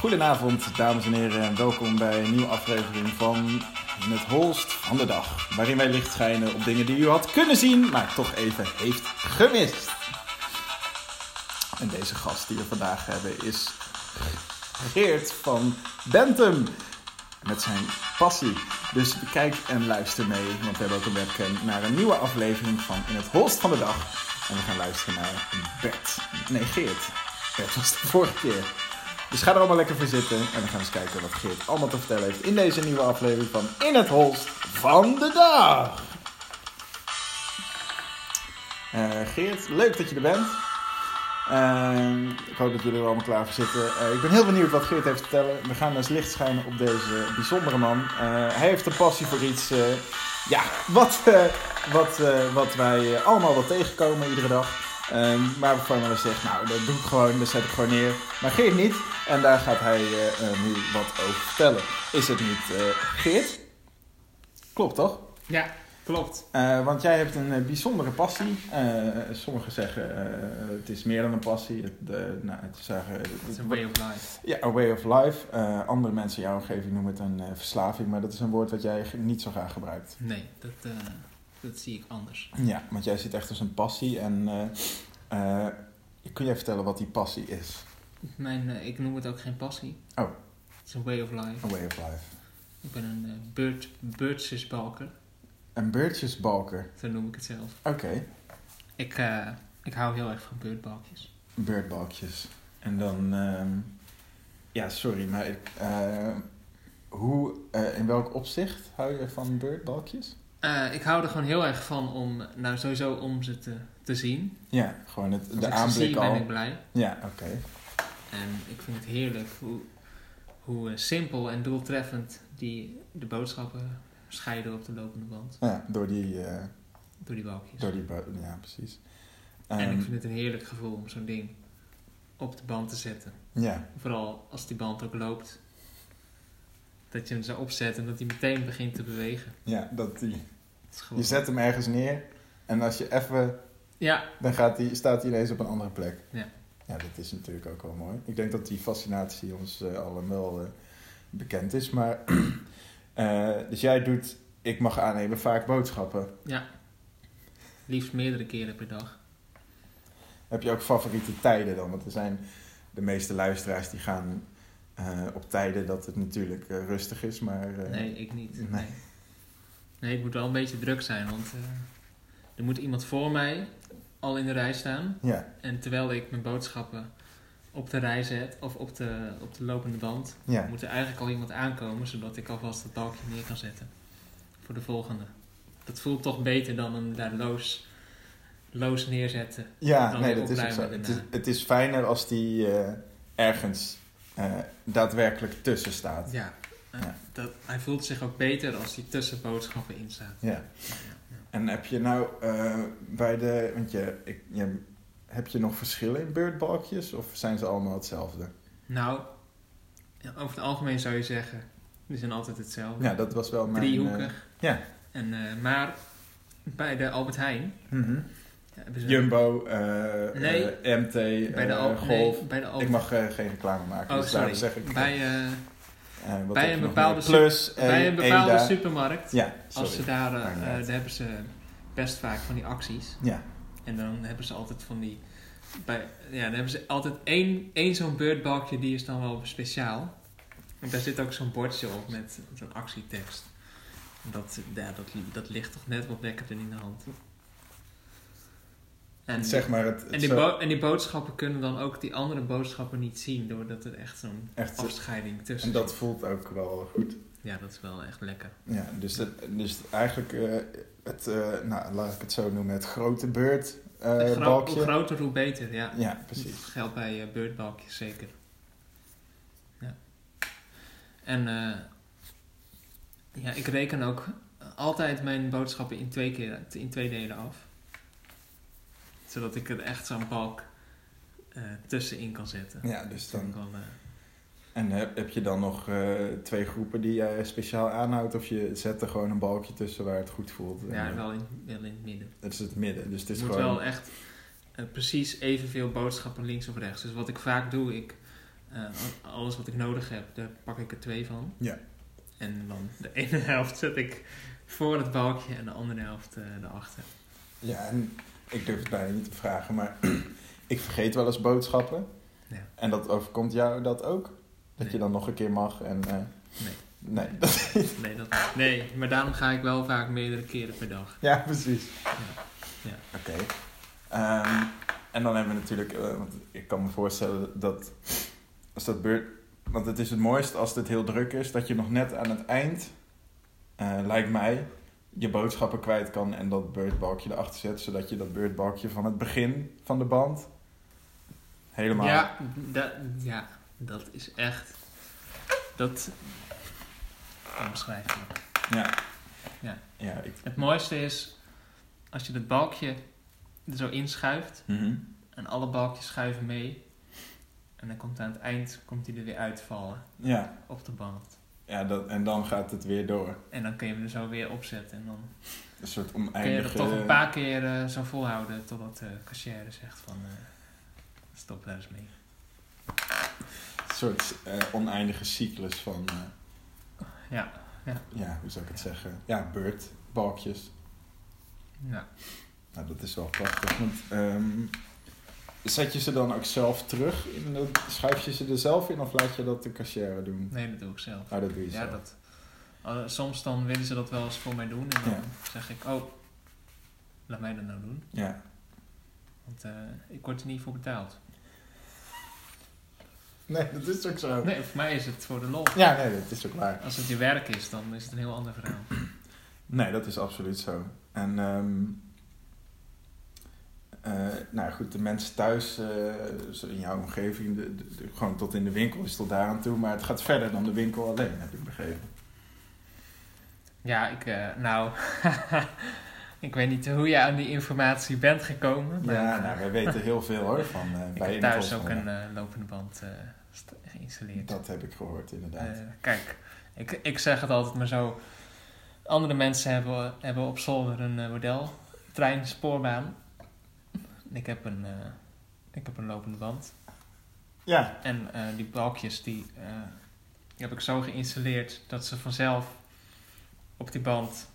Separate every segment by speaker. Speaker 1: Goedenavond, dames en heren, en welkom bij een nieuwe aflevering van Het Holst van de Dag. Waarin wij licht schijnen op dingen die u had kunnen zien, maar toch even heeft gemist. En deze gast die we vandaag hebben is Geert van Bentum. Met zijn passie. Dus kijk en luister mee, want we hebben ook een webcam naar een nieuwe aflevering van In het Holst van de Dag. En we gaan luisteren naar Bert. Nee, Geert. Bert was de vorige keer. Dus ga er allemaal lekker voor zitten en we gaan eens kijken wat Geert allemaal te vertellen heeft in deze nieuwe aflevering van In het Holst van de Dag. Eh, Geert, leuk dat je er bent. Ehm, ik hoop dat jullie er allemaal klaar voor zitten. Eh, ik ben heel benieuwd wat Geert heeft te vertellen. We gaan eens licht schijnen op deze bijzondere man. Eh, hij heeft een passie voor iets. eh, ja, wat, eh, wat, eh, wat wij eh, allemaal wel tegenkomen iedere dag. Ehm, maar waarvan we zeggen, nou, dat doe ik gewoon, dat zet ik gewoon neer. Maar Geert niet. En daar gaat hij eh, eh, nu wat over vertellen. Is het niet eh, Geert? Klopt toch?
Speaker 2: Ja, klopt.
Speaker 1: Eh, want jij hebt een eh, bijzondere passie. Eh, sommigen zeggen eh, het is meer dan een passie. Het, eh, nou, het is eigenlijk-
Speaker 2: Dat is een way of life.
Speaker 1: ja, a way of life. Eh, andere mensen in jouw omgeving noemen het een eh, verslaving, maar dat is een woord wat jij g- niet zo graag gebruikt.
Speaker 2: Nee, dat, eh, dat zie ik anders.
Speaker 1: Ja, want jij ziet echt als een passie en eh, eh, kun jij vertellen wat die passie is?
Speaker 2: Mijn, eh, ik noem het ook geen passie.
Speaker 1: Oh.
Speaker 2: Het is een way of life.
Speaker 1: A way of life.
Speaker 2: Ik ben een eh bird, birdsusbalker,
Speaker 1: Een beurtjesbalker.
Speaker 2: zo noem ik het zelf.
Speaker 1: Oké,
Speaker 2: Ik, eh, ik hou heel erg van birdbalkjes.
Speaker 1: beurtbalkjes. En dan, ehm, ja, sorry, maar ik, eh, hoe, eh, in welk opzicht hou je van beurtbalkjes?
Speaker 2: Eh, ik hou er gewoon heel erg van om, nou sowieso om ze te, te zien.
Speaker 1: Ja, gewoon het,
Speaker 2: Als
Speaker 1: de
Speaker 2: ik ze zie,
Speaker 1: aanblik
Speaker 2: ben
Speaker 1: al.
Speaker 2: ik blij.
Speaker 1: Ja, oké.
Speaker 2: En ik vind het heerlijk hoe, hoe eh, simpel en doeltreffend die de boodschappen scheiden op de lopende band.
Speaker 1: Ja, door die, eh,
Speaker 2: Door die balkjes.
Speaker 1: door die, bu- ja, precies.
Speaker 2: en
Speaker 1: Ehm,
Speaker 2: ik vind het een heerlijk gevoel om zo'n ding op de band te zetten.
Speaker 1: Ja,
Speaker 2: Vooral als die band ook loopt. Dat je hem zo opzet en dat hij meteen begint te bewegen.
Speaker 1: ja dat die,
Speaker 2: Het is
Speaker 1: je
Speaker 2: gewoon...
Speaker 1: zet hem ergens neer en als je even,
Speaker 2: Ja,
Speaker 1: dan gaat die, staat hij ineens op een andere plek.
Speaker 2: Ja.
Speaker 1: Ja, dat is natuurlijk ook wel mooi. Ik denk dat die fascinatie ons eh, allen wel eh, bekend is, maar... eh, dus jij doet, ik mag aannemen, vaak boodschappen.
Speaker 2: liefst meerdere keren per dag.
Speaker 1: Heb je ook favoriete tijden dan? Want er zijn de meeste luisteraars die gaan eh, op tijden dat het natuurlijk eh, rustig is, maar... eh,
Speaker 2: Nee, ik niet.
Speaker 1: nee.
Speaker 2: Nee. Nee, ik moet wel een beetje druk zijn, want eh, er moet iemand voor mij al in de rij staan.
Speaker 1: Ja,
Speaker 2: En terwijl ik mijn boodschappen op de rij zet of op de, op de lopende band,
Speaker 1: ja.
Speaker 2: moet er eigenlijk al iemand aankomen, zodat ik alvast dat balkje neer kan zetten. Voor de volgende. Dat voelt toch beter dan hem daar loos, loos neerzetten.
Speaker 1: Ja,
Speaker 2: Dan
Speaker 1: nee,
Speaker 2: weer
Speaker 1: dat is ook zo.
Speaker 2: opruimen
Speaker 1: Het is,
Speaker 2: daarna.
Speaker 1: het is fijner als die eh, ergens eh, daadwerkelijk tussen staat.
Speaker 2: Ja. eh,
Speaker 1: Ja.
Speaker 2: Dat, hij voelt zich ook beter als hij tussen boodschappen in staat.
Speaker 1: Ja. En heb je nou eh, bij de... Want je, ik, je, heb je nog verschillen in beurtbalkjes? Of zijn ze allemaal hetzelfde?
Speaker 2: Nou, ja, over het algemeen zou je zeggen, die zijn altijd hetzelfde.
Speaker 1: Ja, dat was wel mijn... eh,
Speaker 2: Driehoekig.
Speaker 1: ja.
Speaker 2: En, eh, maar bij de Albert Heijn
Speaker 1: mhm.
Speaker 2: ja, hebben ze...
Speaker 1: Jumbo, eh,
Speaker 2: Nee.
Speaker 1: eh, MT,
Speaker 2: bij de
Speaker 1: eh,
Speaker 2: Al-
Speaker 1: Golf.
Speaker 2: nee, bij de Albert
Speaker 1: Ik mag eh, geen reclame maken,
Speaker 2: Oh,
Speaker 1: dus daarom
Speaker 2: sorry.
Speaker 1: zeg ik...
Speaker 2: Bij, eh,
Speaker 1: eh, wat
Speaker 2: bij
Speaker 1: heb
Speaker 2: een
Speaker 1: je nog
Speaker 2: bepaalde
Speaker 1: meer?
Speaker 2: super-
Speaker 1: Plus, eh,
Speaker 2: bij een bepaalde
Speaker 1: Eda.
Speaker 2: supermarkt.
Speaker 1: Ja,
Speaker 2: Als ze
Speaker 1: sorry.
Speaker 2: daar, eh,
Speaker 1: Maar niet
Speaker 2: eh,
Speaker 1: uit.
Speaker 2: daar hebben ze best vaak van die acties.
Speaker 1: Ja,
Speaker 2: En dan hebben ze altijd van die. Bij, ja, dan hebben ze altijd één, één zo'n beurtbalkje, die is dan wel speciaal. En daar zit ook zo'n bordje op met zo'n actietekst. Dat, ja, dat, dat ligt toch net wat lekkerder in de hand. En,
Speaker 1: zeg maar het... het
Speaker 2: en, die
Speaker 1: zo-
Speaker 2: bo- en die boodschappen kunnen dan ook die andere boodschappen niet zien, doordat er echt zo'n
Speaker 1: echt zo-
Speaker 2: afscheiding tussen
Speaker 1: En dat voelt ook wel goed.
Speaker 2: zit. Ja, dat is wel echt lekker.
Speaker 1: Ja, dus, dat, dus eigenlijk, eh, het, eh, nou, laat ik het zo noemen, het grote beurt eh,
Speaker 2: Een gro- hoe
Speaker 1: balkje.
Speaker 2: groter, hoe beter, ja.
Speaker 1: ja,
Speaker 2: Dat
Speaker 1: precies.
Speaker 2: geldt bij eh, beurtbalkjes zeker. Ja. En eh, ja, ik reken ook altijd mijn boodschappen in twee, keer, in twee delen af. Zodat ik er echt zo'n balk eh, tussenin kan zetten.
Speaker 1: Ja, dus
Speaker 2: Dat vind
Speaker 1: dan,
Speaker 2: ik wel, eh,
Speaker 1: en heb, heb je dan nog eh, twee groepen die jij speciaal aanhoudt? Of je zet er gewoon een balkje tussen waar het goed voelt? En,
Speaker 2: ja,
Speaker 1: eh,
Speaker 2: wel in, wel in het midden.
Speaker 1: Dat is het midden. Dus het
Speaker 2: Het
Speaker 1: is
Speaker 2: moet
Speaker 1: gewoon...
Speaker 2: wel echt eh, eh, precies evenveel boodschappen links of rechts. Dus wat ik vaak doe, ik, eh, al- alles wat ik nodig heb, daar pak ik er twee van.
Speaker 1: Ja.
Speaker 2: En dan de ene helft zet ik voor het balkje en de andere helft eh erachter.
Speaker 1: Ja, en ik durf het bijna niet te vragen, maar ik vergeet wel eens boodschappen.
Speaker 2: Ja.
Speaker 1: En dat overkomt jou dat ook? Dat
Speaker 2: Nee.
Speaker 1: je dan nog een keer mag en... eh,
Speaker 2: Nee.
Speaker 1: Nee.
Speaker 2: Nee, dat niet. nee, maar daarom ga ik wel vaak meerdere keren per dag.
Speaker 1: ja, precies.
Speaker 2: Ja.
Speaker 1: Oké. Ehm, en dan hebben we natuurlijk... eh, want ik kan me voorstellen dat als dat beurt... Want het is het mooist als dit heel druk is, dat je nog net aan het eind, eh, lijkt mij, je boodschappen kwijt kan en dat beurtbalkje erachter zet, zodat je dat beurtbalkje van het begin van de band helemaal...
Speaker 2: Ja, dat, ja, dat is echt. Dat. Omschrijfelijk.
Speaker 1: Ja.
Speaker 2: Ja.
Speaker 1: Ja, ik...
Speaker 2: Het mooiste is als je dat balkje er zo inschuift
Speaker 1: Mhm.
Speaker 2: en alle balkjes schuiven mee. En dan komt aan het eind komt hij er weer uitvallen
Speaker 1: Ja,
Speaker 2: op de band.
Speaker 1: ja dat, en dan gaat het weer door.
Speaker 2: En dan kun je hem er zo weer opzetten. En dan
Speaker 1: Een soort
Speaker 2: kun je
Speaker 1: oneindige...
Speaker 2: dat toch een paar keer eh, zo volhouden totdat de cashier zegt van eh, stop daar eens mee.
Speaker 1: soort eh, oneindige cyclus van... eh,
Speaker 2: Ja, ja.
Speaker 1: ja, hoe zou ik het zeggen? Ja, beurtbalkjes.
Speaker 2: Ja.
Speaker 1: Nou, dat is wel prachtig. Want, ehm, zet je ze dan ook zelf terug? In de, schuif je ze er zelf in of laat je dat de cashier doen?
Speaker 2: Nee, dat doe ik zelf.
Speaker 1: Nou, dat doe je
Speaker 2: Ja,
Speaker 1: zelf.
Speaker 2: dat. eh, soms dan willen ze dat wel eens voor mij doen. En dan
Speaker 1: Ja.
Speaker 2: zeg ik, oh, laat mij dat nou doen.
Speaker 1: Ja.
Speaker 2: Want eh, ik word er niet voor betaald.
Speaker 1: Nee, dat is ook zo.
Speaker 2: Nee, voor mij is het voor de lol.
Speaker 1: Oh. Ja, nee, dat is ook waar.
Speaker 2: Als het je werk is, dan is het een heel ander verhaal.
Speaker 1: Nee, dat is absoluut zo. En ehm, eh, nou goed, de mensen thuis, eh, zo in jouw omgeving, de, de- de- gewoon tot in de winkel is tot daar aan toe. Maar het gaat verder dan de winkel alleen, heb ik begrepen.
Speaker 2: Ja, ik, eh, nou, ik weet niet hoe je aan die informatie bent gekomen. Maar
Speaker 1: Ja,
Speaker 2: ik,
Speaker 1: nou, wij weten heel veel hoor van eh,
Speaker 2: ik
Speaker 1: bij
Speaker 2: heb thuis ook
Speaker 1: Intelson.
Speaker 2: een eh, lopende band eh, st- geïnstalleerd.
Speaker 1: Dat heb ik gehoord, inderdaad.
Speaker 2: Eh, kijk, ik, ik zeg het altijd maar zo. Andere mensen hebben, hebben op zolder een eh, model, trein, spoorbaan. En Ik heb een, eh, ik heb een lopende band.
Speaker 1: ja,
Speaker 2: En eh, die balkjes die, eh, die heb ik zo geïnstalleerd dat ze vanzelf op die band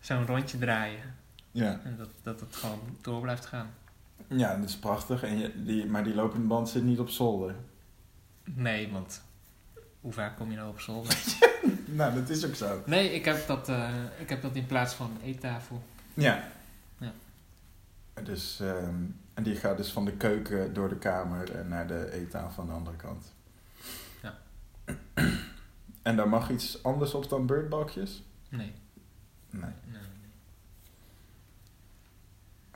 Speaker 2: zo'n rondje draaien.
Speaker 1: ja.
Speaker 2: En dat, dat het gewoon door blijft gaan.
Speaker 1: ja, dat is prachtig. En je, die, maar die lopende band zit niet op zolder.
Speaker 2: Nee, want hoe vaak kom je nou op zolder?
Speaker 1: nou, dat is ook zo.
Speaker 2: Nee, ik heb dat, eh, ik heb dat in plaats van een eettafel.
Speaker 1: Ja.
Speaker 2: Ja.
Speaker 1: Dus, ehm, en die gaat dus van de keuken door de kamer en naar de eettafel aan de andere kant.
Speaker 2: Ja.
Speaker 1: En daar mag iets anders op dan beurtbalkjes?
Speaker 2: Nee,
Speaker 1: Nee.
Speaker 2: nee, nee.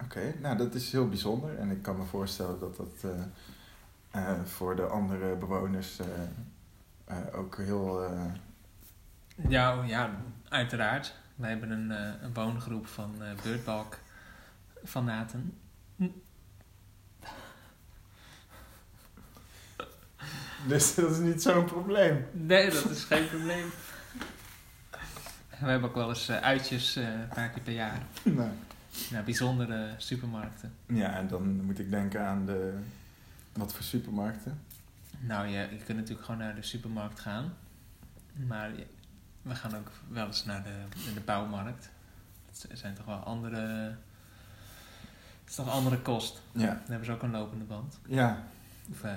Speaker 1: Oké, nou dat is heel bijzonder en ik kan me voorstellen dat dat eh, eh, voor de andere bewoners eh, eh, ook heel... eh,
Speaker 2: Ja, oh ja, uiteraard. Wij hebben een, eh, een woongroep van eh beurtbalk fanaten.
Speaker 1: Dus dat is niet zo'n probleem.
Speaker 2: Nee, dat is geen probleem. En We hebben ook wel eens eh, uitjes eh, een paar keer per jaar
Speaker 1: Nou,
Speaker 2: naar bijzondere supermarkten.
Speaker 1: Ja, en dan moet ik denken aan de... Wat voor supermarkten?
Speaker 2: Nou, je, je kunt natuurlijk gewoon naar de supermarkt gaan. Maar je- we gaan ook wel eens naar de, naar de bouwmarkt. Het zijn toch wel andere... Het is toch andere kost.
Speaker 1: Ja,
Speaker 2: Dan hebben ze ook een lopende band.
Speaker 1: ja
Speaker 2: Of eh,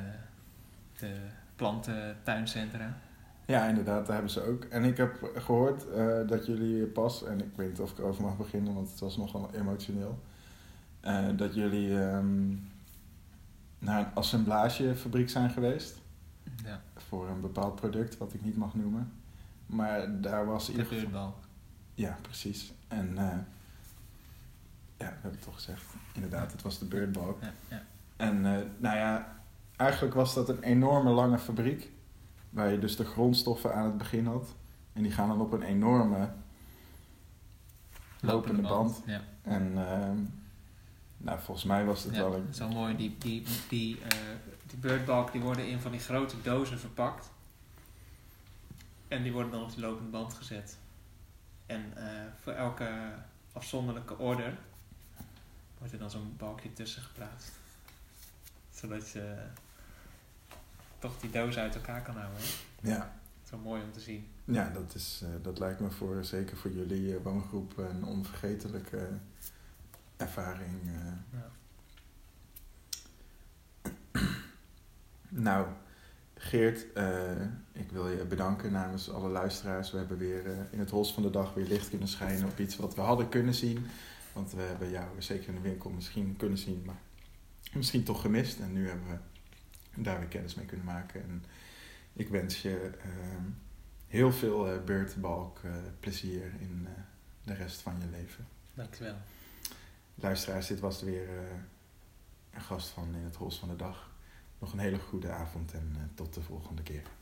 Speaker 2: de plantentuincentra.
Speaker 1: Ja, inderdaad, daar hebben ze ook. En ik heb gehoord eh, dat jullie pas, en ik weet niet of ik erover mag beginnen, want het was nogal emotioneel, eh, dat jullie ehm, naar een assemblagefabriek zijn geweest
Speaker 2: Ja,
Speaker 1: voor een bepaald product, wat ik niet mag noemen. Maar daar was
Speaker 2: de
Speaker 1: ieder geval-
Speaker 2: deurbal.
Speaker 1: Ja, precies. En eh, ja, we hebben het toch gezegd. Inderdaad, het was de Birdbalk.
Speaker 2: Ja, ja.
Speaker 1: En eh, nou ja, eigenlijk was dat een enorme lange fabriek. Waar je dus de grondstoffen aan het begin had. En die gaan dan op een enorme. Lopende band.
Speaker 2: Ja,
Speaker 1: En ehm, nou, volgens mij was het
Speaker 2: ja.
Speaker 1: wel een.
Speaker 2: Zo mooi, die, die, die, eh, die birdbalk die worden in van die grote dozen verpakt. En die worden dan op de lopende band gezet. En eh, voor elke afzonderlijke order wordt er dan zo'n balkje tussen geplaatst. Zodat je eh, toch die doos uit elkaar kan houden.
Speaker 1: Ja,
Speaker 2: Zo mooi om te zien.
Speaker 1: ja dat, is, eh, dat lijkt me voor, zeker voor jullie eh, woongroep een onvergetelijke ervaring. eh.
Speaker 2: Ja.
Speaker 1: Nou, Geert, eh, ik wil je bedanken namens alle luisteraars. We hebben weer eh, in het holst van de dag weer licht kunnen schijnen op iets wat we hadden kunnen zien. Want we hebben jou zeker in de winkel misschien kunnen zien, maar misschien toch gemist. En nu hebben we daar weer kennis mee kunnen maken. En ik wens je eh, heel veel eh, beurtbalk eh, plezier in eh, de rest van je leven.
Speaker 2: Dankjewel.
Speaker 1: Luisteraars, dit was weer eh, een gast van In het Holst van de Dag. Nog een hele goede avond en eh, tot de volgende keer.